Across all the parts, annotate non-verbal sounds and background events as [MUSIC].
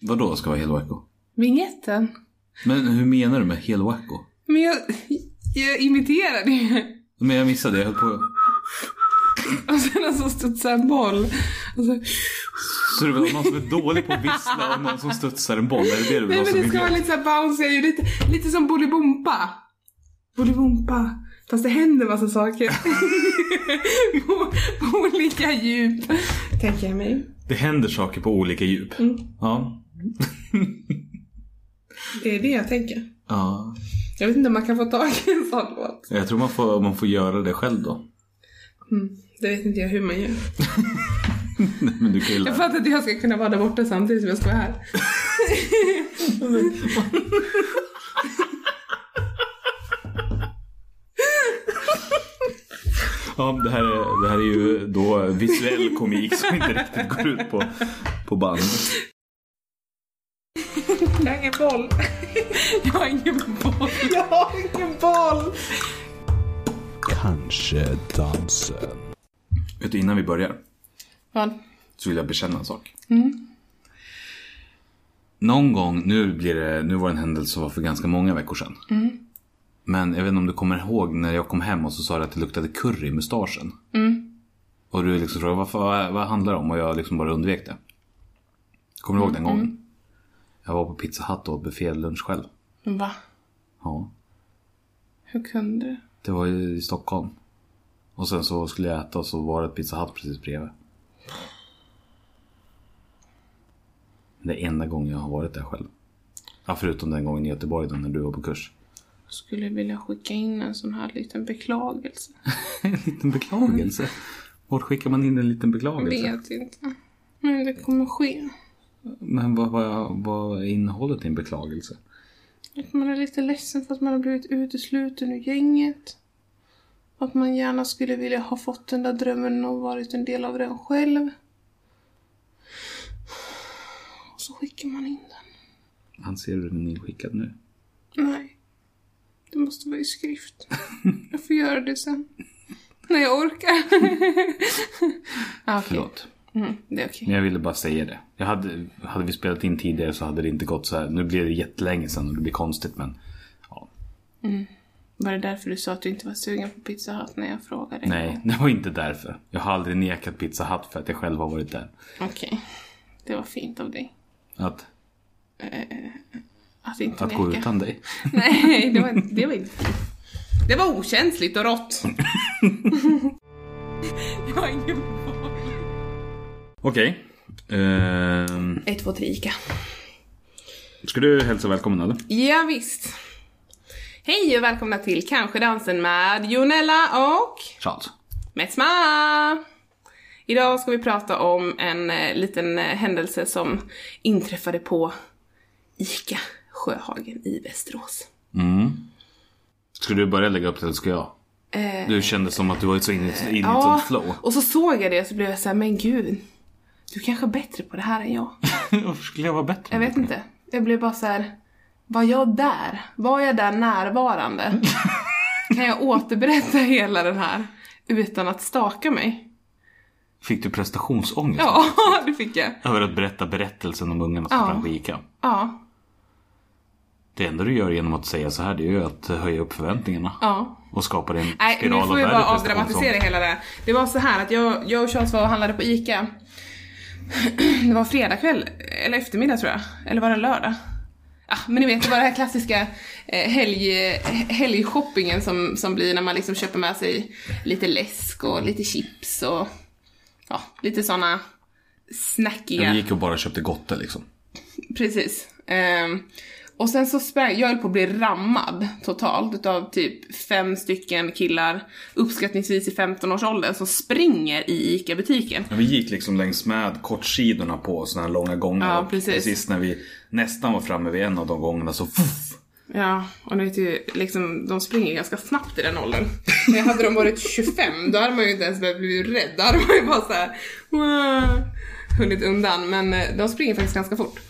Vadå ska vara helt wacko? Vinjetten. Men hur menar du med helt wacko? Men jag, jag imiterade ju. Men jag missade, jag höll på. Och sen alltså studsade en boll. Alltså, Och så, Så det var någon som är dålig på att vissla och någon som studsar en boll? Är det det du vill nej ha men som det ska vara idiot? lite såhär bounciga ljud. Lite, lite som Bolibompa. Bolibompa. Fast det händer massa [LAUGHS] saker. på, på olika djup. Tänker jag mig. Det händer saker på olika djup. Ja. Det är det jag tänker. ja. Jag vet inte om man kan få tag i en sån låt. Jag tror man får, man får göra det själv då. [LAUGHS] Mm. Det vet inte jag hur man gör. Nej, men du kan ju Jag lära fattar att jag ska kunna vara där borta samtidigt som jag ska vara här. Ja, det här, är, det här är ju då visuell komik som inte riktigt går ut på, på band. Jag har ingen boll. Jag har ingen boll. Jag har ingen boll. Kanske dansen. Vet du, innan vi börjar Vad? så vill jag bekänna en sak. Någon gång, nu, blir det, nu var det en händelse som var för ganska många veckor sedan. Men jag vet inte om du kommer ihåg när jag kom hem och så sa du att det luktade curry i mustaschen. Och du liksom frågade "Varför- vad, vad handlar det om och jag liksom bara undvek det. Kommer du ihåg den gången? Jag var på Pizza Hut och åt buffélunch själv. Va? Ja. Hur kunde du? Det var ju i Stockholm. Och sen så skulle jag äta och så var det ett Pizza Hut precis bredvid. Det är enda gången jag har varit där själv. Ja, förutom den gången i Göteborg då när du var på kurs. Jag skulle vilja skicka in en sån här liten beklagelse. [LAUGHS] En liten beklagelse. Vart skickar man in en liten Jag beklagelse? vet inte. Men det kommer ske. Men vad, vad, vad är innehållet i en beklagelse? Att man är lite ledsen för att man har blivit utesluten ur gänget. Att man gärna skulle vilja ha fått den där drömmen och varit en del av den själv. Och så skickar man in den. Han ser hur den är inskickad nu. Nej. Det måste vara i skrift. Jag får göra det sen. När jag orkar. ah, okej. Förlåt. Mm, det är okej. Men jag ville bara säga det. Jag hade, hade vi spelat in tidigare så hade det inte gått så här. Nu blir det jättelänge sedan och det blir konstigt men Var det därför du sa att du inte var sugen på Pizza Hut när jag frågade? Nej, det var inte därför. Jag har aldrig nekat Pizza Hut för att jag själv har varit där. Okej. Det var fint av dig. Att, Att inte att neka. gå utan dig. [LAUGHS] Nej, det var, inte- det var inte Det var okänsligt och rått. [LAUGHS] jag har ingen boll. Okej. Ehm, Ett, två, tre, Ica. ska du hälsa välkommen eller? Ja, visst. Hej och välkomna till Kanske dansen med Jonella och Charles. Metsma! Idag ska vi prata om en eh, liten eh, händelse som inträffade på Ica Sjöhagen i Västerås. Ska du börja lägga upp det eller ska jag? Eh, Du kände som att du var så inne in i ett Ja, sånt flow. [LAUGHS] och så såg jag det och så blev jag så här, men gud. Du kanske är bättre på det här än jag. Varför skulle jag vara bättre? Jag vet inte. Jag blev bara så här. var jag där? Var jag [LAUGHS] där närvarande? kan jag återberätta hela den här utan att staka mig? Fick du prestationsångest? Ja, [LAUGHS] det fick jag. Över att berätta berättelsen om ungarna som Ja. sprang på Ica? Ja, Det enda du gör genom att säga så här det är ju att höja upp förväntningarna. ja. Och skapa din spiral Nej, nu av får vi värre bara prestationsångest. avdramatisera hela det. Det var så här att jag, jag och Charles var och handlade på ICA. [CLEARS THROAT] Det var fredag kväll, eller eftermiddag tror jag. Eller var det lördag? Ah, men ni vet, det var det här klassiska eh, helg, he- helgshoppingen som, som blir när man liksom köper med sig lite läsk och lite chips och ja, lite såna snackiga. Vi gick och bara köpte gotte liksom. Precis. Ehm, och sen så sprang, jag höll på att bli rammad totalt utav typ fem stycken killar uppskattningsvis i 15-årsåldern som springer i ICA-butiken. Ja, Vi gick liksom längs med kortsidorna på såna här långa gånger. Ja, Och precis. precis när vi nästan var framme vid en av de gångerna så fuff, Ja, och ni vet ju, liksom, de springer ju ganska snabbt i den åldern. Men hade de varit 25, då hade man ju inte ens behövt bli rädd. Då hade man ju bara såhär, hunnit undan. Men eh, de springer faktiskt ganska fort.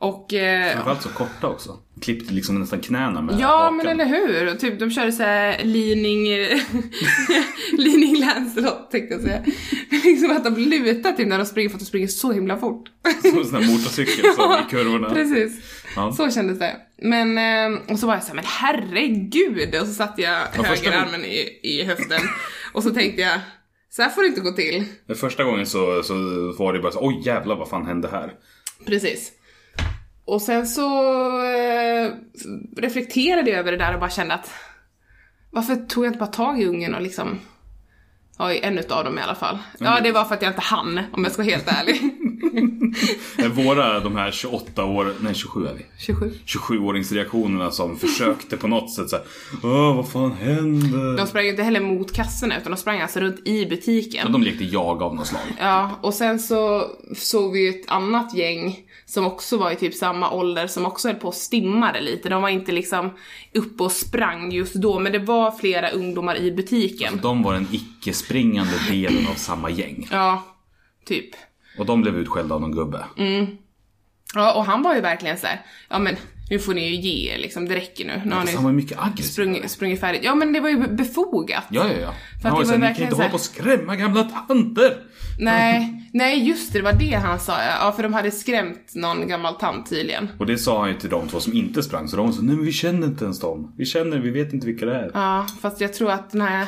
Och... Eh, Framförallt så korta också. Klippte liksom nästan knäna med Ja men eller hur, Och typ de körde såhär leaning, [LAUGHS] leaning Lancelot tänkte jag säga. Men liksom att de lutar typ när de springer för att de springer så himla fort. Som en [LAUGHS] sån här motorcykel Typ som i kurvorna. [LAUGHS] Precis. Ja. Så kändes det. Men, eh, och så var jag såhär, men herregud! Och så satte jag Ja, första- högerarmen i, i höften. Och så tänkte jag, så här får det inte gå till. Men Första gången så, så var det bara så oj jävlar vad fan hände här? Precis. Och sen så eh, reflekterade jag över det där och bara kände att varför tog jag inte bara tag i ungen och liksom Ja, i en utav dem i alla fall. Mm. Ja, det var för att jag inte hann, om jag ska vara helt ärlig. [LAUGHS] Men Våra de här 28 år, nej 27 är vi. 27. 27-åringsreaktionerna som [LAUGHS] försökte på något sätt såhär, åh vad fan händer? De sprang ju inte heller mot kassorna, utan de sprang alltså runt i Ja, butiken. de lekte jag av något slag. Ja, och sen så såg vi ju ett annat gäng som också var i typ samma ålder som också höll på och stimmade lite. De var inte liksom uppe och sprang just då, men det var flera ungdomar i butiken. De var den icke-springande delen av samma gäng. Ja, typ. Och de blev utskällda av någon gubbe. Mm, Ja, och han var ju verkligen så här, ja men nu får ni ju ge er liksom, det räcker nu. Nu har ni Fast han var ju mycket aggressiv. sprungit, sprungit färdigt. Ja men det var ju be- befogat. Ja, ja, ja. det Han var var ju såhär, ni kan verkligen inte så här- hålla på och skrämma gamla tanter! Nej, nej just det, det var det han sa ja. ja för de hade skrämt någon gammal tant tydligen. Och det sa han ju till de två som inte sprang, så de sa, nej men vi känner inte ens dem. Vi känner, vi vet inte vilka det är. Ja, fast jag tror att den här,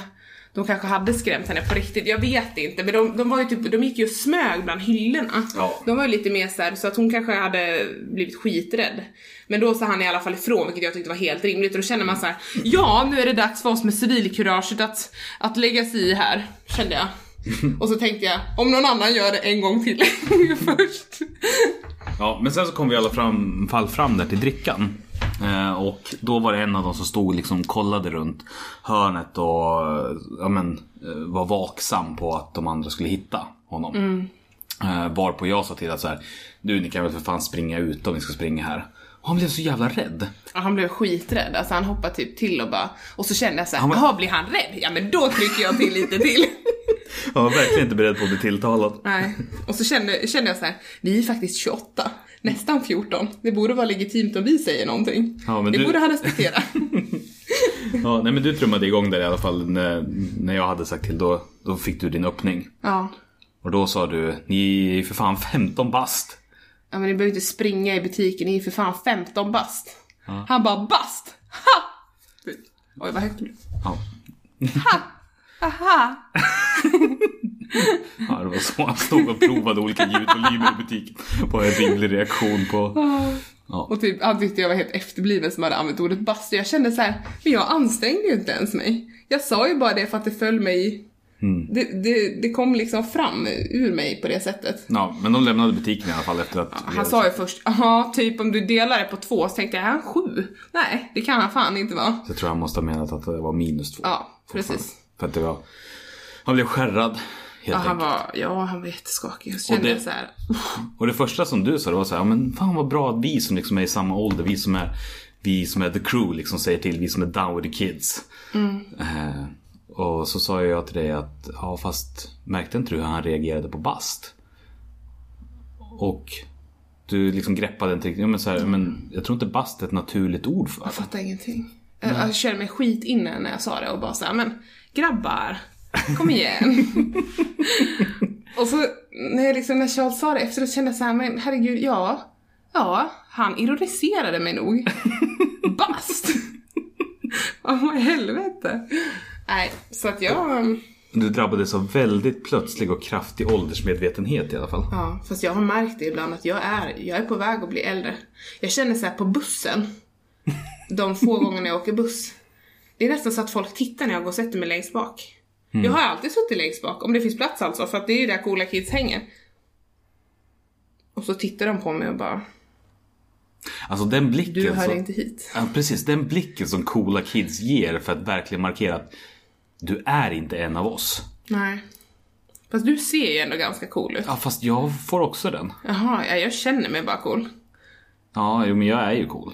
de kanske hade skrämt henne på riktigt, jag vet inte. Men de, de var ju typ, de gick ju och smög bland hyllorna. Ja. De var ju lite mer såhär, så att hon kanske hade blivit skiträdd. Men då sa han i alla fall ifrån, vilket jag tyckte var helt rimligt. Och då känner man så här: ja nu är det dags för oss med civilkuraget att, att lägga sig i här, kände jag. Och så tänkte jag, om någon annan gör det en gång till [LAUGHS] först. Ja, men sen så kom vi i alla fram, fall fram där till drickan. Eh, och då var det en av dem som stod liksom kollade runt hörnet och eh, ja, men, eh, var vaksam på att de andra skulle hitta honom. Eh, varpå jag sa till att så här, du ni kan väl för fan springa ut om ni ska springa här. Och han blev så jävla rädd. Ja, han blev skiträdd, alltså han hoppade typ till och bara, och så kände jag såhär, Han var- jaha blir han rädd? Ja men då trycker jag till lite till. Han var verkligen inte beredd på att bli tilltalad. Nej. Och så kände, kände jag så här, vi är faktiskt 28, nästan 14. Det borde vara legitimt om vi säger någonting. Ja, men det du- borde [LAUGHS] han respektera. Ja, nej men du trummade igång där i alla fall när, när jag hade sagt till. Då, då fick du din öppning. ja. Och då sa du, ni är ju för fan 15 bast. ja, men ni behöver inte springa i butiken, ni är för fan 15 bast. Han bara bast! Ha! Oj vad högt det blev. Ja, Aha! [LAUGHS] Ja, det var så han stod och provade olika ljudvolymer i butiken. På en rimlig reaktion på... Och typ, han tyckte jag var helt efterbliven som hade använt ordet bast. Och jag kände så här, men jag ansträngde ju inte ens mig. Jag sa ju bara det för att det föll mig, Mm. det, det, det kom liksom fram ur mig på det sättet. Ja, men de lämnade butiken i alla fall efter att... Han sa ju först, ja typ om du delar det på två, så tänkte jag, är han sju? Nej, det kan han fan inte vara. Jag tror han måste ha menat att det var minus två. Ja, precis. För att det var... Han blev skärrad, Ja, helt han enkelt. var, ja, han var jätteskakig. Jag kände det- jag så här, Och det första som du sa, det var så här, ja, men fan vad bra att vi som liksom är i samma ålder, vi som är... Vi som är the crew liksom säger till, vi som är down with the kids. Eh, och så sa jag till dig att, ja fast märkte inte du hur han reagerade på bast? Och du liksom greppade inte riktigt. Ja, men så här, men jag tror inte bast är ett naturligt ord för jag fattar ingenting. Jag, jag kände mig skit inne när jag sa det och bara så här, men grabbar, kom igen. och så när, jag liksom, när Charles sa det efteråt kände jag så här, men herregud, ja, ja, han ironiserade mig nog. Bast! Ja, vad i helvete. Nej, så att jag... Du drabbades av väldigt plötslig och kraftig åldersmedvetenhet i alla fall. Ja, fast jag har märkt det ibland att jag är, jag är på väg att bli äldre. Jag känner så här på bussen, de få [LAUGHS] gångerna jag åker buss. Det är nästan så att folk tittar när jag går och sätter mig längst bak. Mm. Jag har alltid suttit längst bak, om det finns plats alltså, för att det är ju där coola kids hänger. Och så tittar de på mig och bara, Alltså den blicken du hör som- inte hit. Ja, precis, den blicken som coola kids ger för att verkligen markera att du är inte en av oss. Nej. Fast du ser ju ändå ganska cool ut. Ja, fast jag får också den. Jaha, ja, jag känner mig bara cool. Ja, jo, men jag är ju cool.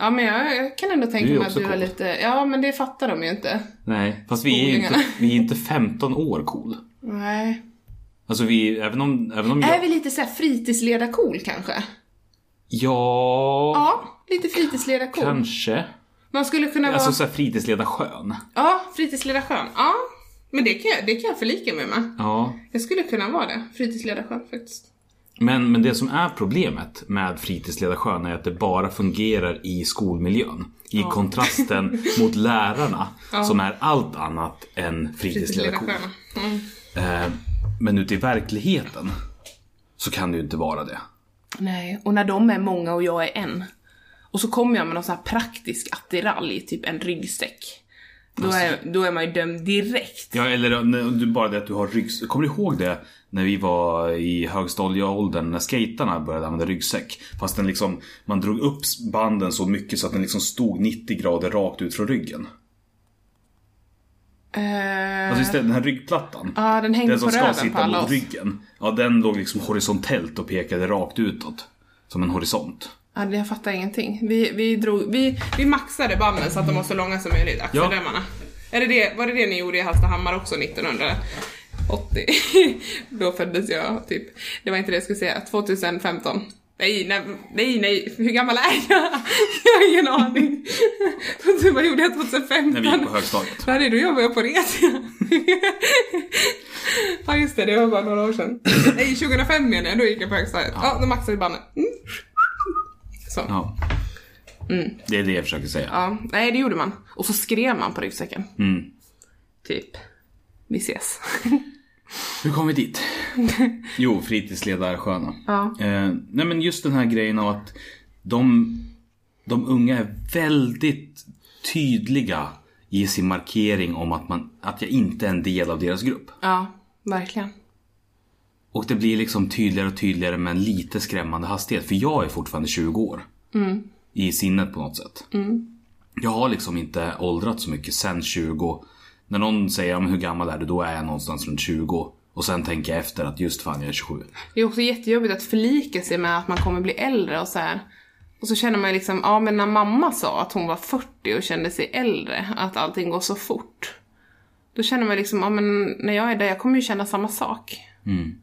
Ja men jag, jag kan ändå Du tänka är mig att också du är cool. lite, ja men det fattar de ju inte. Nej, fast vi är ju inte, Coolingarna. vi är inte 15 år cool. Nej. Alltså vi, även om, även om Är jag... vi lite såhär fritidsledar-cool kanske? Ja, Ja, lite fritidsledarkor. kanske. Man skulle kunna vara... Alltså såhär fritidsleda sjön. Ja, fritidsledarsjön. Ja, men det kan, jag, det kan jag förlika mig med. Ja. Jag skulle kunna vara det. Fritidsledarsjön faktiskt. Men, men det som är problemet med fritidsledarsjön är att det bara fungerar i skolmiljön. I kontrasten mot lärarna som är allt annat än fritidsledarkor. Fritidsledarsjön. Mm. Eh, Men ute i verkligheten så kan det ju inte vara det. Nej, och när de är många och jag är en. Och så kommer jag med någon sån här praktisk attiralj, typ en ryggsäck. Då Alltså- är, då är man ju dömd direkt. Ja, eller eh, när- du- bara det att du har ryggsäck. Kommer du ihåg det? När vi var i högstadieåldern när skaterna började använda ryggsäck. Fast den liksom, man drog upp banden så mycket så att den liksom stod 90 grader rakt ut från ryggen. Eh, Alltså istället den här ryggplattan. Ja, den hängde den som på ska röven på sitta alla mot oss. ryggen. Ja, den låg liksom horisontellt och pekade rakt utåt. Som en horisont. Ja, det- jag fattar ingenting. Vi, vi, drog, vi, vi maxade banden så att de var så långa som möjligt, axelremmarna. Är det det, var det det ni gjorde i Hallstahammar också 1980? [LAUGHS] Då föddes jag typ. Det var inte det jag skulle säga. 2015. Nej, nej, nej, nej. hur gammal är jag? [LAUGHS] Jag har ingen aning. [LAUGHS] Vad gjorde jag 2015? När vi [LAUGHS] gick på högstadiet. Nej, då jobbade jag på Resia. [LAUGHS] ja just det, det var bara några år sedan. Nej, 2005 menar jag, då gick jag på högstadiet. Ja, då maxade vi banden. Mm. Så. Ja. Ja. Mm. Det är det jag försöker säga. nej det gjorde man. Och så skrev man på ryggsäcken. Mm. Typ, [LAUGHS] vi ses. Hur kom vi dit? Jo, fritidsledarsköna. Ja. Eh, nej men just den här grejen av att de, de unga är väldigt tydliga i sin markering om att, man, att jag inte är en del av deras grupp. ja, verkligen. Och det blir liksom tydligare och tydligare med en lite skrämmande hastighet. För jag är fortfarande 20 år. I sinnet på något sätt. Jag har liksom inte åldrats så mycket sen 20. När någon säger om hur gammal är du? Då är jag någonstans runt 20. Och sen tänker jag efter att just fan jag är 27. Det är också jättejobbigt att förlika sig med att man kommer bli äldre och så här. Och så känner man ju liksom, ja men när mamma sa att hon var 40 och kände sig äldre, att allting går så fort. Då känner man liksom, ja men när jag är där, jag kommer ju känna samma sak. Mm.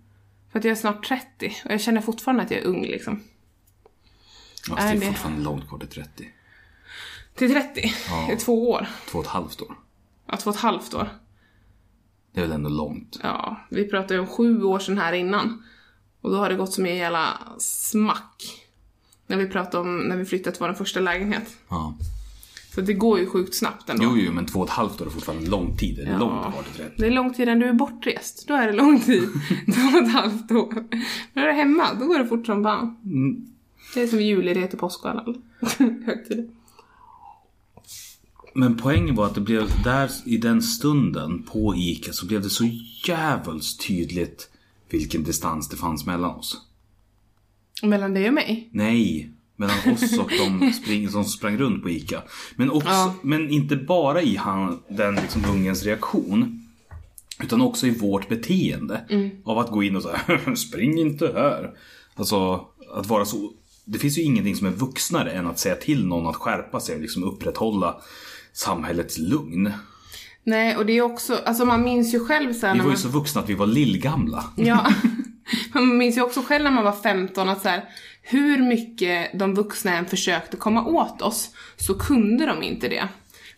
För att jag är snart 30 och jag känner fortfarande att jag är ung liksom. Ja, fast Är Alltså, det det- är fortfarande långt kvar till 30. Till 30, Ja. det är två år. Två och ett halvt år. Ja, två och ett halvt år. Det är väl ändå långt. Ja, vi pratade ju om sju år sedan här innan. Och då har det gått som en jävla smack. När vi pratade om när vi flyttade till vår första lägenhet. Ja. Så det går ju sjukt snabbt ändå. Jo, jo, men två och ett halvt år är fortfarande lång tid. Det är långt kvar till 30. Det är lång tid när du är bortrest. Då är det [LAUGHS] lång tid. Två och ett halvt år. Men när du är hemma, då går det fort som fan. Mm. Det är som julledighet och påsk och alla [LAUGHS] högtider. Men poängen var att det blev där i den stunden på ICA så blev det så jävligt tydligt vilken distans det fanns mellan oss. Mellan dig och mig. Nej, mellan oss och de spring, som sprang runt på ICA. Men, också, men inte bara i han, den liksom ungens reaktion. Utan också i vårt beteende. Av att gå in och så här, [LAUGHS] spring inte här. Alltså, att vara så. Det finns ju ingenting som är vuxnare än att säga till någon att skärpa sig och liksom upprätthålla samhällets lugn. Nej, och det är också, alltså man minns ju själv sen Vi när var man... ju så vuxna att vi var lillgamla. [LAUGHS] Ja. Man minns ju också själv när man var 15 att så här, hur mycket de vuxna än försökte komma åt oss så kunde de inte det.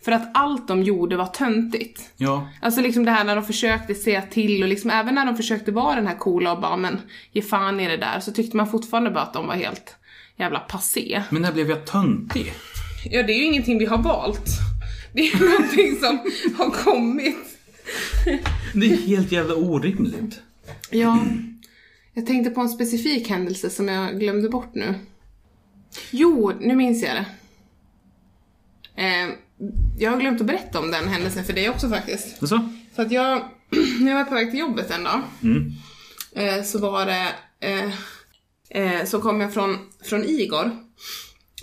För att allt de gjorde var töntigt. Ja. Alltså liksom det här när de försökte säga till och liksom även när de försökte vara den här coola och bara men ge fan i det där så tyckte man fortfarande bara att de var helt jävla passé. Men när blev jag töntig? Ja det är ju ingenting vi har valt. Det är ju [LAUGHS] någonting som har kommit. Det är helt jävla orimligt. Ja. [CLEARS THROAT] Jag tänkte på en specifik händelse som jag glömde bort nu. Jo, nu minns jag det. Eh, jag har glömt att berätta om den händelsen för dig också faktiskt. Alltså? För att jag, [CLEARS THROAT] när jag var på väg till jobbet en dag, eh, så var det, eh, eh, så kom jag från, från Igor.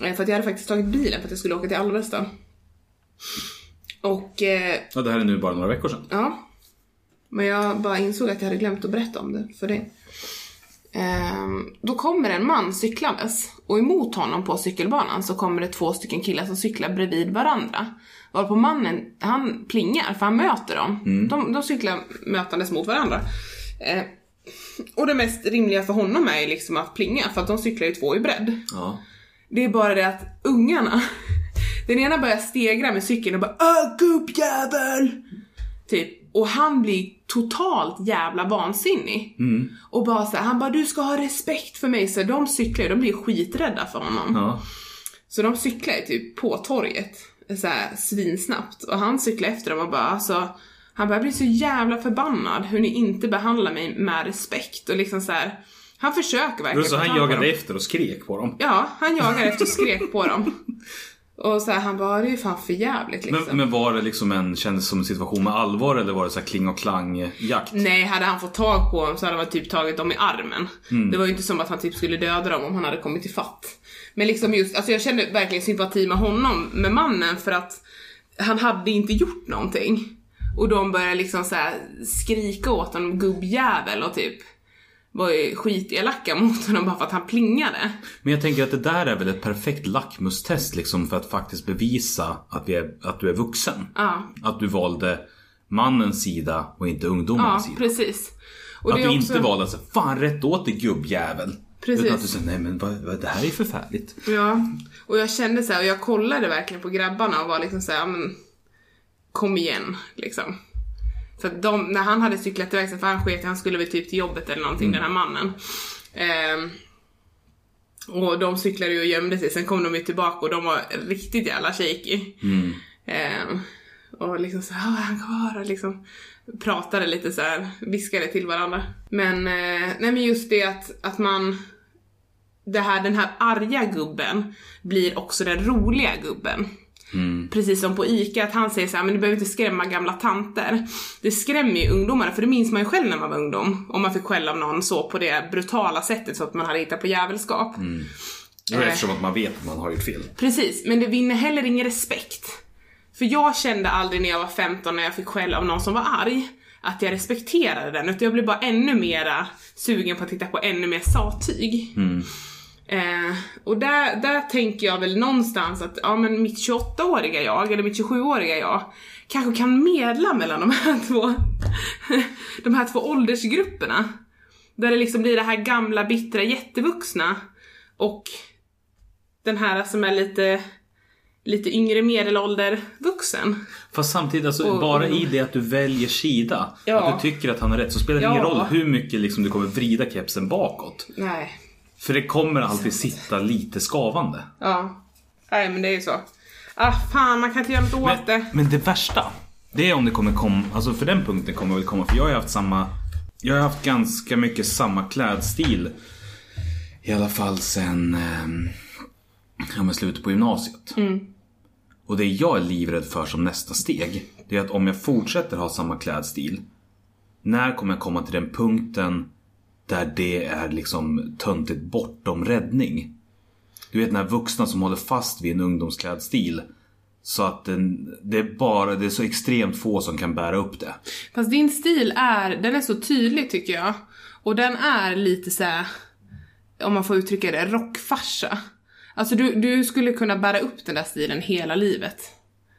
Eh, för att jag hade faktiskt tagit bilen för att jag skulle åka till Alvesta. Och, eh, Ja, det här är nu bara några veckor sedan. ja. Men jag bara insåg att jag hade glömt att berätta om det för dig. Ehm, då kommer en man cyklandes och emot honom på cykelbanan så kommer det två stycken killar som cyklar bredvid varandra. Varpå mannen, han plingar för han möter dem. De, de cyklar mötandes mot varandra. Eh, Och det mest rimliga för honom är ju liksom att plinga för att de cyklar ju två i bredd. Ja. Det är bara det att ungarna, [LAUGHS] den ena börjar stegra med cykeln och bara Åh gubbjävel! Typ. Och han blir totalt jävla vansinnig. Och bara så här, han bara du ska ha respekt för mig. Så de cyklar ju, de blir skiträdda för honom. ja. Så de cyklar ju typ på torget så här, svinsnabbt och han cyklar efter dem och bara alltså han bara, jag blir så jävla förbannad hur ni inte behandlar mig med respekt och liksom så här. Han försöker verkligen. Så få tag han på dem. jagade efter och skrek på dem. Ja, han jagar efter och skrek på dem. Och så här, han bara, det är fan för jävligt liksom. Men, men var det liksom en, kändes som en situation med allvar eller var det så här kling och klang jakt? Nej, hade han fått tag på dem så hade han typ tagit dem i armen. Mm. Det var ju inte som att han typ skulle döda dem om han hade kommit i fatt. Men liksom just, alltså jag kände verkligen sympati med honom, med mannen för att han hade inte gjort någonting. Och de började liksom så här skrika åt honom, gubbjävel och typ var ju skitelaka [LAUGHS] mot honom bara för att han plingade. Men jag tänker att det där är väl ett perfekt lackmustest liksom för att faktiskt bevisa att, vi är, att du är vuxen. Ja, Att du valde mannens sida och inte ja ungdomens sida. precis. Och Att det är du också- inte valde att säga fan rätt åt dig gubbjävel. Precis. Utan att du säger nej men vad, vad, det här är ju förfärligt. Ja, och jag kände så här, och jag kollade verkligen på grabbarna och var liksom så här, "Ja, men kom igen liksom. För att de, när han hade cyklat iväg sen, för han sket han skulle väl typ till jobbet eller någonting den här mannen. Ehm, och de cyklade ju och gömde sig, sen kom de ju tillbaka och de var riktigt jävla shaky. Ehm, och liksom så här, "Åh, är han kvar? Och liksom pratade lite så här, viskade till varandra. Men, eh, nej men just det att, att man det här, den här arga gubben blir också den roliga gubben. Mm. Precis som på ICA, att han säger så här, men du behöver inte skrämma gamla tanter. Det skrämmer ju ungdomarna, för det minns man ju själv när man var ungdom. Om man fick skäll av någon så på det brutala sättet så att man hade hittat på djävulskap. Det var Eh. Eftersom att man vet att man har gjort fel. Precis, men det vinner heller ingen respekt. För jag kände aldrig när jag var 15 när jag fick skäll av någon som var arg att jag respekterade den utan jag blev bara ännu mera sugen på att titta på ännu mer sattyg. Eh, och där, där tänker jag väl någonstans att ja, men mitt 28-åriga jag eller mitt 27-åriga jag kanske kan medla mellan de här två, [LAUGHS] de här två åldersgrupperna. Där det liksom blir det här gamla bittra jättevuxna och den här som är lite, lite yngre medelålder vuxen. Fast samtidigt, alltså, Och- bara i det att du väljer sida. Ja. Att du tycker att han har rätt så spelar det ingen Ja. roll hur mycket liksom, du kommer vrida kepsen bakåt. Nej. För det kommer alltid sitta lite skavande. Ja. Nej men det är ju så. Ah fan man kan inte göra något åt Men, det. men det värsta, det är om det kommer komma, alltså för den punkten kommer det väl komma, för jag har ju haft samma, jag har haft ganska mycket samma klädstil. I alla fall sen, ehm, ja men slutet på gymnasiet. Och det jag är livrädd för som nästa steg, det är att om jag fortsätter ha samma klädstil, när kommer jag komma till den punkten där det är liksom töntigt bortom räddning? Du vet den här vuxna som håller fast vid en ungdomsklädstil så att den, det är bara, det är så extremt få som kan bära upp det. Fast din stil är, den är så tydlig tycker jag. Och den är lite så här, om man får uttrycka det, rockfarsa. Alltså du, du skulle kunna bära upp den där stilen hela livet.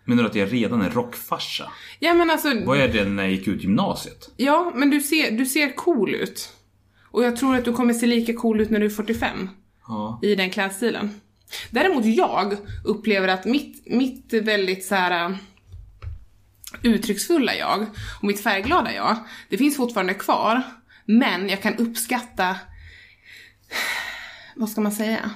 Menar du att jag redan är rockfarsa? Ja men alltså, Vad är det när jag gick ut gymnasiet? ja men du ser, du ser cool ut. Och jag tror att du kommer se lika cool ut när du är 45. Ja. i den klädstilen. Däremot jag upplever att mitt, mitt väldigt så här äh, uttrycksfulla jag och mitt färgglada jag, det finns fortfarande kvar. Men jag kan uppskatta, vad ska man säga?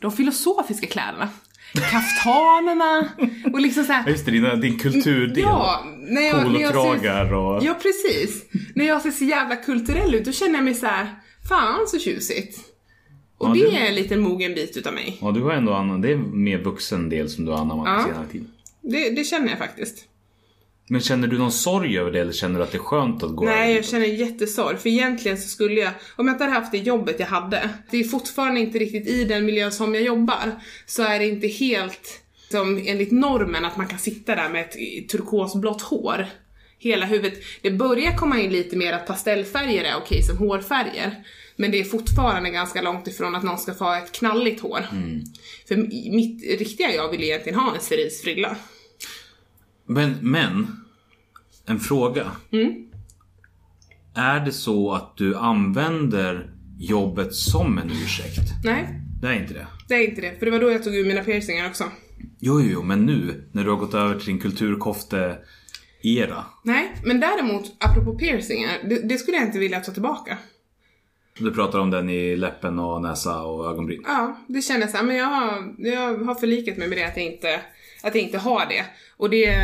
De filosofiska kläderna. Kaftanerna och liksom så här, Just det, din, din kulturdel. Mm, Ja, när jag, när jag Polokragar ser, och- Ja, precis. när jag ser så jävla kulturell ut, då känner jag mig så här, fan så tjusigt. Och Ja, det du- är en liten mogen bit utav mig. Ja, du har ändå annan, det är mer vuxen del som du har anammat på Ja. senare tid. Det, det känner jag faktiskt. Men känner du någon sorg över det eller känner du att det är skönt att gå Nej, över jag känner jättesorg. För egentligen så skulle jag, om jag inte hade haft det jobbet jag hade, det är fortfarande inte riktigt i den miljön som jag jobbar, så är det inte helt som enligt normen att man kan sitta där med ett turkosblått hår. Hela huvudet. Det börjar komma in lite mer att pastellfärger är okej som hårfärger. Men det är fortfarande ganska långt ifrån att någon ska få ha ett knalligt hår. För mitt riktiga jag vill egentligen ha en cerise frilla. Mm. Men, men en fråga. Är det så att du använder jobbet som en ursäkt? Nej, Det är inte det. det är inte det. För det var då jag tog ur mina piercingar också. Jo, jo, jo, men nu när du har gått över till din kulturkofte-era. Nej, men däremot apropå piercingar, det, det skulle jag inte vilja ta tillbaka. Du pratar om den i läppen och näsa och ögonbryn. Ja, det kändes så här, men jag, har- jag har förlikat mig med det att jag, inte, att jag inte har det. Och det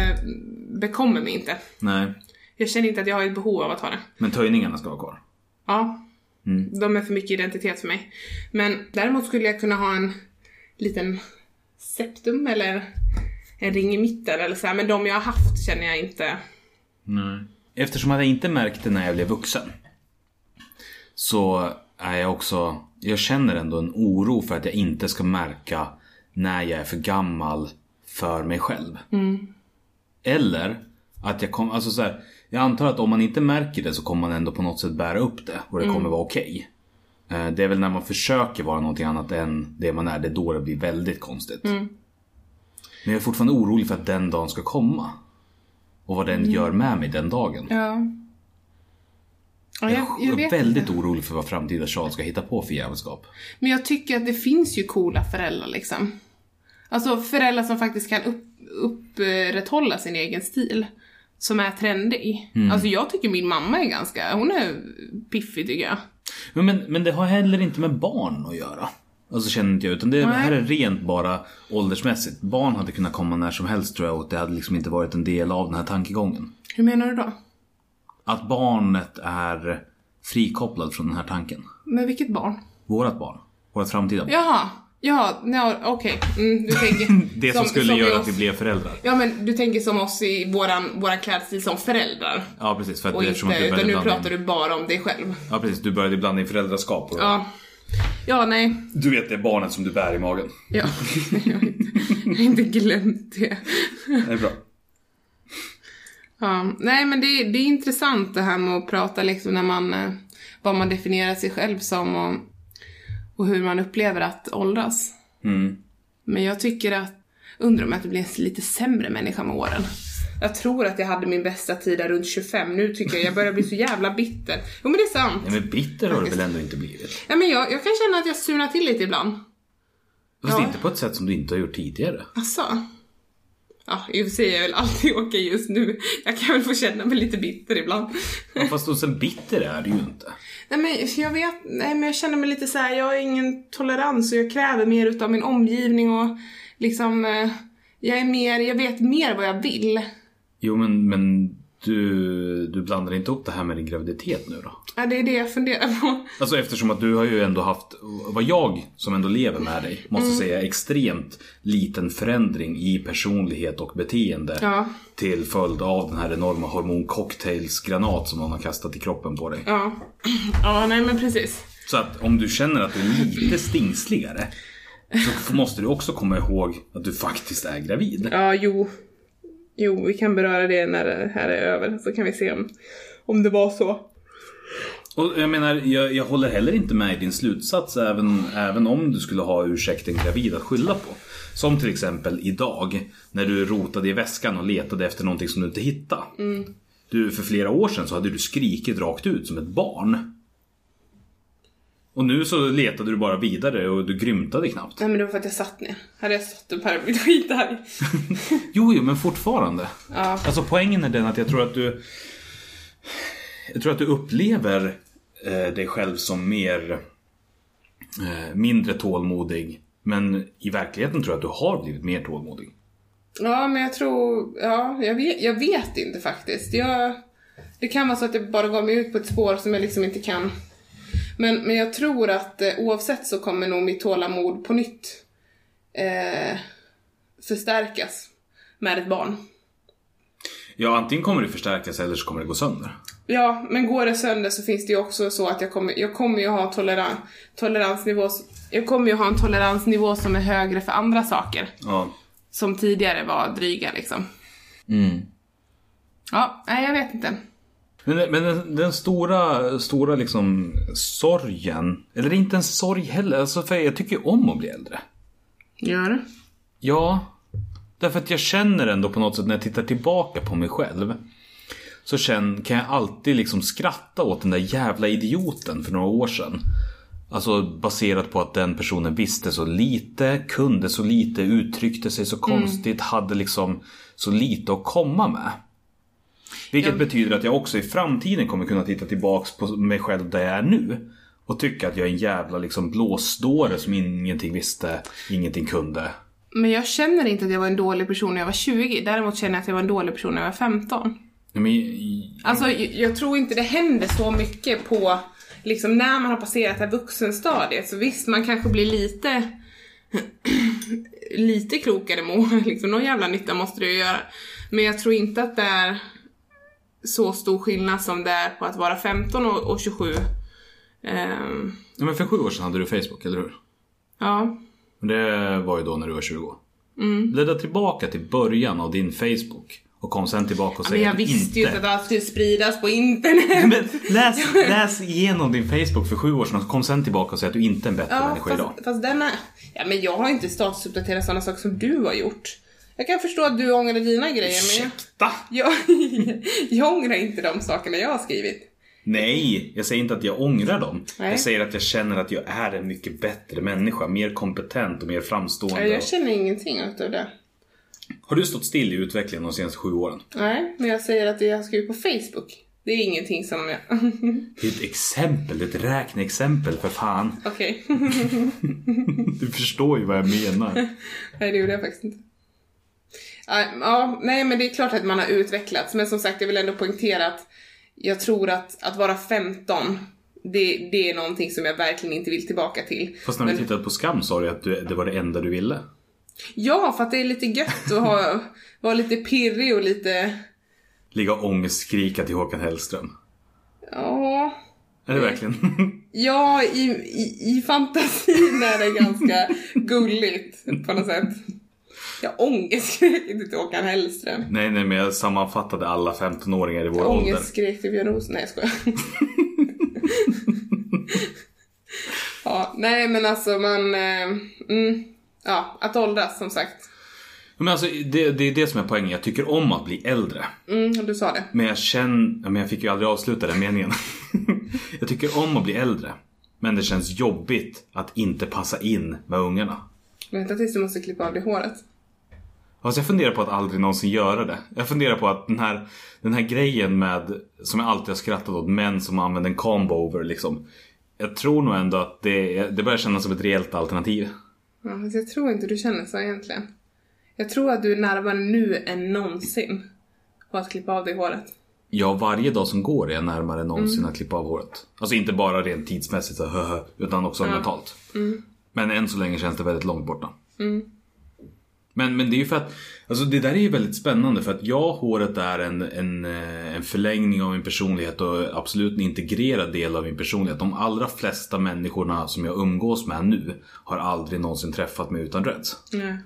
bekommer mig inte. Nej, Jag känner inte att jag har ett behov av att ha det. men töjningarna ska vara kvar. Ja, Mm. de är för mycket identitet för mig. Men däremot skulle jag kunna ha en liten septum eller en ring i mitten eller så här, men de jag har haft känner jag inte. Nej. Eftersom jag inte märkte när jag blev vuxen. Så är jag också, jag känner ändå en oro för att jag inte ska märka när jag är för gammal för mig själv. Eller att jag kommer, alltså så här, jag antar att om man inte märker det så kommer man ändå på något sätt bära upp det och det kommer vara okej. Eh, Det är väl när man försöker vara någonting annat än det man är, det är då det blir väldigt konstigt. Men jag är fortfarande orolig för att den dagen ska komma. Och vad den gör med mig den dagen. Ja. ja jag, Jag jag är vet väldigt inte. orolig för vad framtida Charles ska hitta på för jävelskap. Men jag tycker att det finns ju coola föräldrar liksom. Alltså föräldrar som faktiskt kan upp, upprätthålla sin egen stil. Som är trendig. Mm. Alltså jag tycker min mamma är ganska, hon är piffig tycker jag. Men, men, men det har heller inte med barn att göra. Alltså känner inte jag. Utan det här är rent bara åldersmässigt. Barn hade kunnat komma när som helst tror jag och det hade liksom inte varit en del av den här tankegången. Hur menar du då? Att barnet är frikopplat från den här tanken. Med vilket barn? Vårat barn. Vårat framtida barn. Jaha, ja, ja okej. Mm, [LAUGHS] du tänker... Det som, skulle vi göra oss- att vi blev föräldrar. Ja men du tänker som oss i våran, våran klädstil som föräldrar. Ja precis. För att Och det är som att inte, du utan började nu blanda pratar in, du bara om dig själv. Ja precis. Du började blanda in föräldraskap. Och Ja. Ja, nej. Du vet det är barnet som du bär i magen. [LAUGHS] Ja. Jag har inte- jag har inte glömt det. Det är bra. Ja. Nej men det, det är intressant det här med att prata liksom när man, eh, vad man definierar sig själv som och, och hur man upplever att åldras. Mm. Men jag tycker att, undrar om jag inte blir en lite sämre människa med åren. Jag tror att jag hade min bästa tid där runt 25, nu tycker jag jag börjar bli så jävla bitter. Jo men det är sant. Nej, men bitter har du väl ändå inte blivit? Ja, men jag, jag kan känna att jag surnar till lite ibland. Fast Ja. inte på ett sätt som du inte har gjort tidigare. Alltså. Ja, i och för sig är jag väl alltid okej just nu. Jag kan väl få känna mig lite bitter ibland. Ja, fast och sen bitter är du ju inte. Nej men jag vet, nej men jag känner mig lite så här. jag har ingen tolerans och jag kräver mer utav min omgivning och liksom, eh, jag är mer, jag vet mer vad jag vill. Jo men, men du, du blandar inte upp det här med din graviditet nu då? Ja, det är det jag funderar på. Alltså eftersom att du har ju ändå haft, vad jag som ändå lever med dig, måste Mm. säga extremt liten förändring i personlighet och beteende. Ja. Till följd av den här enorma hormoncocktailsgranat som någon har kastat i kroppen på dig. Ja. [CLEARS THROAT] Ja, nej men precis. Så att om du känner att du är [LAUGHS] lite stingsligare så måste du också komma ihåg att du faktiskt är gravid. Ja, jo. Jo, vi kan beröra det när det här är över så kan vi se om, om det var så. Och jag menar, jag, jag håller heller inte med i din slutsats även, även om du skulle ha ursäkten gravid att skylla på. Som till exempel idag när du rotade i väskan och letade efter någonting som du inte hittade. Du, för flera år sedan så hade du skrikit rakt ut som ett barn. Och nu så letade du bara vidare och du grymtade knappt. Nej men det var för att jag satt ner. Hade jag stått upp hade jag blivit skitarg. Jo, jo, men fortfarande. Ja. Alltså poängen är den att jag tror att du Jag tror att du upplever eh, dig själv som mer eh, mindre tålmodig. Men i verkligheten tror jag att du har blivit mer tålmodig. Ja men jag tror, ja jag vet, jag vet inte faktiskt. Jag, det kan vara så att jag bara går mig ut på ett spår som jag liksom inte kan. Men, men jag tror att eh, oavsett så kommer nog mitt tålamod på nytt eh, förstärkas med ett barn. Ja, antingen kommer det förstärkas eller så kommer det gå sönder. Ja, men går det sönder så finns det ju också så att jag kommer, jag kommer ju ha toleran, toleransnivå, jag kommer ju ha en toleransnivå som är högre för andra saker. Ja. Som tidigare var dryga liksom. Ja, nej jag vet inte. Men, men den, den stora, stora liksom sorgen, eller inte en sorg heller, alltså för jag tycker ju om att bli äldre. Gör du? Ja, därför att jag känner ändå på något sätt när jag tittar tillbaka på mig själv. så känn, kan jag alltid liksom skratta åt den där jävla idioten för några år sedan. Alltså baserat på att den personen visste så lite, kunde så lite, uttryckte sig så konstigt, hade liksom så lite att komma med. Vilket betyder att jag också i framtiden kommer kunna titta tillbaks på mig själv där jag är nu. Och tycka att jag är en jävla liksom blåsdåre som ingenting visste, ingenting kunde. Men jag känner inte att jag var en dålig person när jag var 20. Däremot känner jag att jag var en dålig person när jag var 15. Nej, Men, i- Alltså jag, jag tror inte det händer så mycket på, liksom när man har passerat det här vuxenstadiet. Så visst, man kanske blir lite, [CLEARS THROAT] lite klokare må. [LAUGHS] Liksom, någon jävla nytta måste det ju göra. Men jag tror inte att det är så stor skillnad som det är på att vara 15 och, och 27. Ehm, Ja, men för sju år sedan hade du Facebook, eller hur? ja. Men Det var ju då när du var 20. Mm. Bläddra tillbaka till början av din Facebook och kom sen tillbaka och Men säg jag att visste ju inte inte... att allt skulle spridas på internet. Men [LAUGHS] läs, läs igenom din Facebook för sju år sedan och kom sen tillbaka och säg att du inte är en bättre Ja, människa idag. fast, fast den är... Ja, men jag har inte statusuppdaterat sådana saker som du har gjort. Jag kan förstå att du ångrar dina grejer, men Ursäkta! jag, jag, [LAUGHS] jag ångrar inte de sakerna jag har skrivit. Nej, jag säger inte att jag ångrar dem. Nej. Jag säger att jag känner att jag är en mycket bättre människa. Mer kompetent och mer framstående. Jag känner ingenting utav det. Har du stått still i utvecklingen de senaste sju åren? Nej, men jag säger att det jag har skrivit på Facebook, det är ingenting som jag... [LAUGHS] Det är ett exempel, det är ett räkneexempel för fan. Okej. Du förstår ju vad jag menar. Nej, det gjorde jag faktiskt inte. Ja, Ja, nej men det är klart att man har utvecklats, men som sagt jag vill ändå poängtera att jag tror att, att vara 15, det, det är någonting som jag verkligen inte vill tillbaka till. Fast när vi tittade på Skam sa du att du, det var det enda du ville. Ja, för att det är lite gött att ha, vara lite pirrig och lite, Ligga och ångestskrika till Håkan Hellström. ja. Är det verkligen? [LAUGHS] Ja, i, i, i fantasin är det ganska gulligt på något sätt. Jag ångestskrek inte till Håkan Hellström. nej, nej, men jag sammanfattade alla 15-åringar i vår ålder. Ångestskrek till Björn Rosen. Nej jag skojar. ja, nej men alltså man... Eh, mm, ja, att åldras som sagt. Men alltså, det, det är det som är poängen. Jag tycker om att bli äldre. Mm, du sa det. Men jag känner... ja, Men jag fick ju aldrig avsluta den meningen. [LAUGHS] jag tycker om att bli äldre. Men det känns jobbigt att inte passa in med ungarna. Vänta tills du måste klippa av det håret. Alltså jag funderar på att aldrig någonsin göra det. Jag funderar på att den här, den här grejen med, som jag alltid har skrattat åt, män som använder en combover liksom. Jag tror nog ändå att det, det börjar kännas som ett reellt alternativ. Ja, fast jag tror inte du känner så egentligen. Jag tror att du är närmare nu än någonsin på att klippa av dig håret. Ja, varje dag som går är jag närmare än någonsin Mm. att klippa av håret. Alltså inte bara rent tidsmässigt, så, höhö, utan också mentalt. Mm. Men än så länge känns det väldigt långt borta. Men, men det är ju för att, alltså det där är ju väldigt spännande för att ja, håret är en, en, eh, en förlängning av min personlighet och absolut en integrerad del av min personlighet. De allra flesta människorna som jag umgås med nu har aldrig någonsin träffat mig utan dreads. Nej.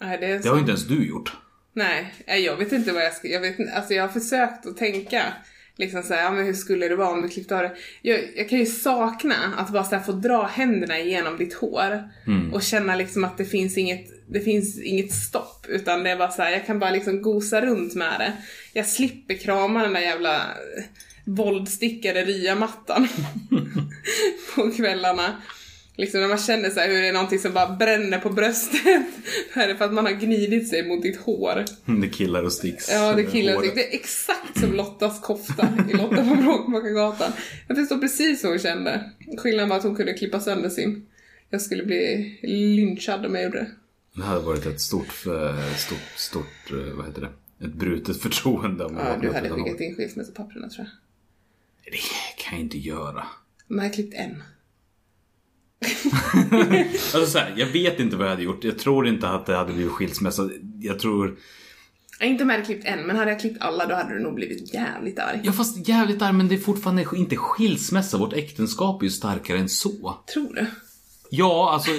Nej, det är Det har så. ju inte ens du gjort. Nej, nej, jag vet inte vad jag ska... Jag, vet, inte- alltså jag har försökt att tänka liksom så här, ja, men hur skulle det vara om du klippte av det? Jag, jag kan ju sakna att bara så här få dra händerna igenom ditt hår och känna liksom att det finns inget, det finns inget stopp utan det är bara så här, jag kan bara liksom gosa runt med det. Jag slipper krama den där jävla eh, våldstickade ryamattan [LAUGHS] på kvällarna. Liksom när man känner så här hur det är någonting som bara bränner på bröstet. [LAUGHS] Då är det för att man har gnidit sig mot ditt hår. [LAUGHS] Det killar och sticks. Ja, det killar Håret. sig. Det är exakt som Lottas kofta i Lotta på Bråkmakargatan. Jag förstår precis hur hon kände. Skillnaden var att hon kunde klippa sönder sin. Jag skulle bli lynchad om jag gjorde det. Det hade varit ett stort, eh, stort, stort, eh, vad heter det? Ett brutet förtroende om jag Ja, vaknade du upp hade utan skickat hår. in skilsmässopapperna tror jag. Det kan jag inte göra. Men jag har klippt en. Alltså så här, jag vet inte vad jag hade gjort. Jag tror inte att det hade blivit skilsmässa. Jag tror... Jag har inte med klippt en, men hade jag klippt alla då hade du nog blivit jävligt arg. Ja fast jävligt där, men det är fortfarande inte skilsmässa. Vårt äktenskap är ju starkare än så. Tror du? Ja, [LAUGHS] alltså.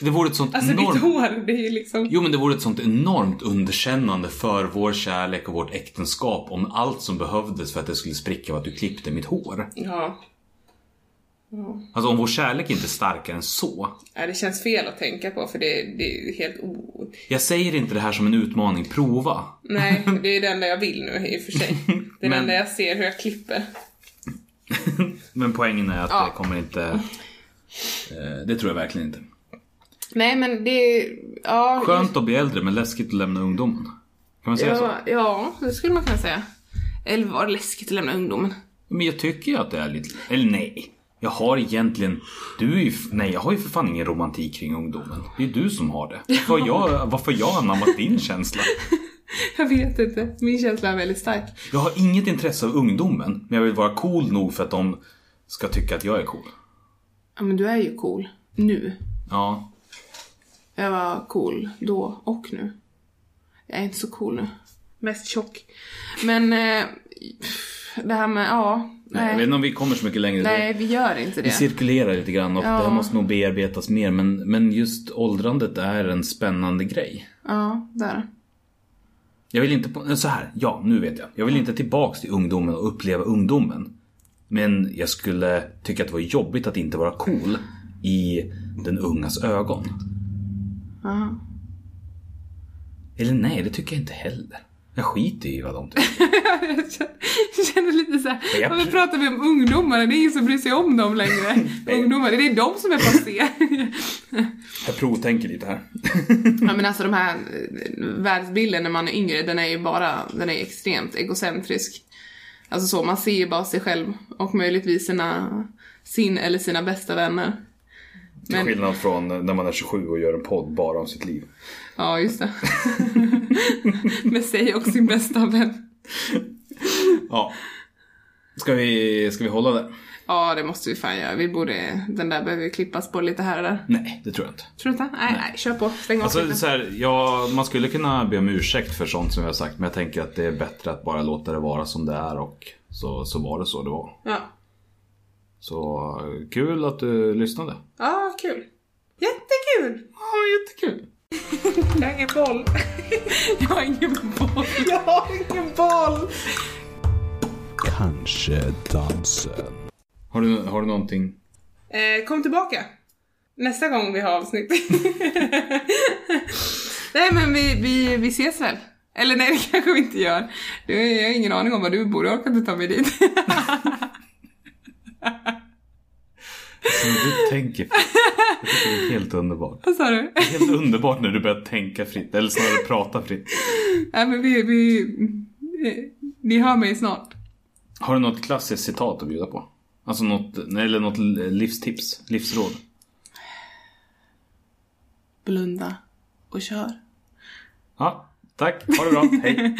Det vore ett sånt Alltså ditt enormt... hår, det är ju liksom... Jo men det vore ett sånt enormt underkännande för vår kärlek och vårt äktenskap om allt som behövdes för att det skulle spricka var att du klippte mitt hår. Ja. Alltså om vår kärlek inte är starkare än så. ja, det känns fel att tänka på för det, det är helt o... Jag säger inte det här som en utmaning, prova. [LAUGHS] Nej, det är det enda jag vill nu i och för sig. Det är det Men- enda jag ser hur jag klipper. Men poängen är att Ja. det kommer inte... eh, Det tror jag verkligen inte. Nej men det är... Ja, Skönt att bli äldre men läskigt att lämna ungdomen. Kan man säga så? ja, ja, det skulle man kunna säga. Eller var det läskigt att lämna ungdomen? [LAUGHS] Men jag tycker ju att det är lite... Eller nej. Jag har egentligen... Du är ju... f- Nej, jag har ju för fan ingen romantik kring ungdomen. Det är ju du som har det. Varför har [LAUGHS] jag, varför har jag anammat din känsla? Jag vet inte. Min känsla är väldigt stark. Jag har inget intresse av ungdomen, men jag vill vara cool nog för att de ska tycka att jag är cool. Ja men du är ju cool. Nu. Ja. Jag var cool då och nu. Jag är inte så cool nu. Mest tjock. Men eh, det här med, ja. Nej. Jag vet Nej, inte om vi kommer så mycket längre. nej vi gör inte Det det. cirkulerar lite grann och Ja. det här måste nog bearbetas mer. Men, men just åldrandet är en spännande grej. Ja, där. [LAUGHS] Jag vill inte... På, eh, så här, ja nu vet jag. Jag vill inte tillbaks till ungdomen och uppleva ungdomen. Men jag skulle tycka att det var jobbigt att inte vara cool i den ungas ögon. Ja. Eller nej, det tycker jag inte heller. Jag skiter i vad de tycker. Jag känner lite såhär, Japp. varför pratar vi om ungdomar? Det är ingen som bryr sig om dem [LAUGHS] längre. ungdomar, det är de som är passé. Jag provtänker lite här. ja men alltså de här eh, världsbilden när man är yngre, den är ju bara, den är ju extremt egocentrisk. Alltså så, man ser ju bara sig själv och möjligtvis sina, sin eller sina bästa vänner. Men- skillnad från när man är 27 och gör en podd bara om sitt liv. Ja, just det. [LAUGHS] Med sig och sin bästa vän. Ja. Ska vi, ska vi hålla det? Ja, det måste vi fan göra. Vi borde, den där behöver klippas på lite här och där. Nej, det tror jag inte. Tror du inte? Nej, nej, kör på. Stäng av Alltså, skiten. så här, ja, man skulle kunna be om ursäkt för sånt som jag har sagt men jag tänker att det är bättre att bara låta det vara som det är och så, så var det så det var. Ja. Så eh, kul att du lyssnade. Ja, kul. Jättekul! Ja, jättekul. Jag har ingen boll. [LAUGHS] Jag har ingen boll. Jag har ingen boll! Kanske dansen. Har du, har du någonting? Eh, kom tillbaka. Nästa gång vi har avsnitt. [LAUGHS] nej men vi, vi, vi ses väl? Eller nej [LAUGHS] det kanske vi inte gör. Du, jag har ingen aning om var du bor, jag orkar inte ta mig dit. [LAUGHS] Men Du tänker fritt. Jag tycker det är helt underbart. Vad sa du? Helt underbart när du börjar tänka fritt, eller snarare prata fritt. nej men vi, vi, eh, ni hör mig snart. Har du något klassiskt citat att bjuda på? Alltså något, eller något livstips, livsråd? Blunda och kör. Ja, tack. Ha det bra. Hej.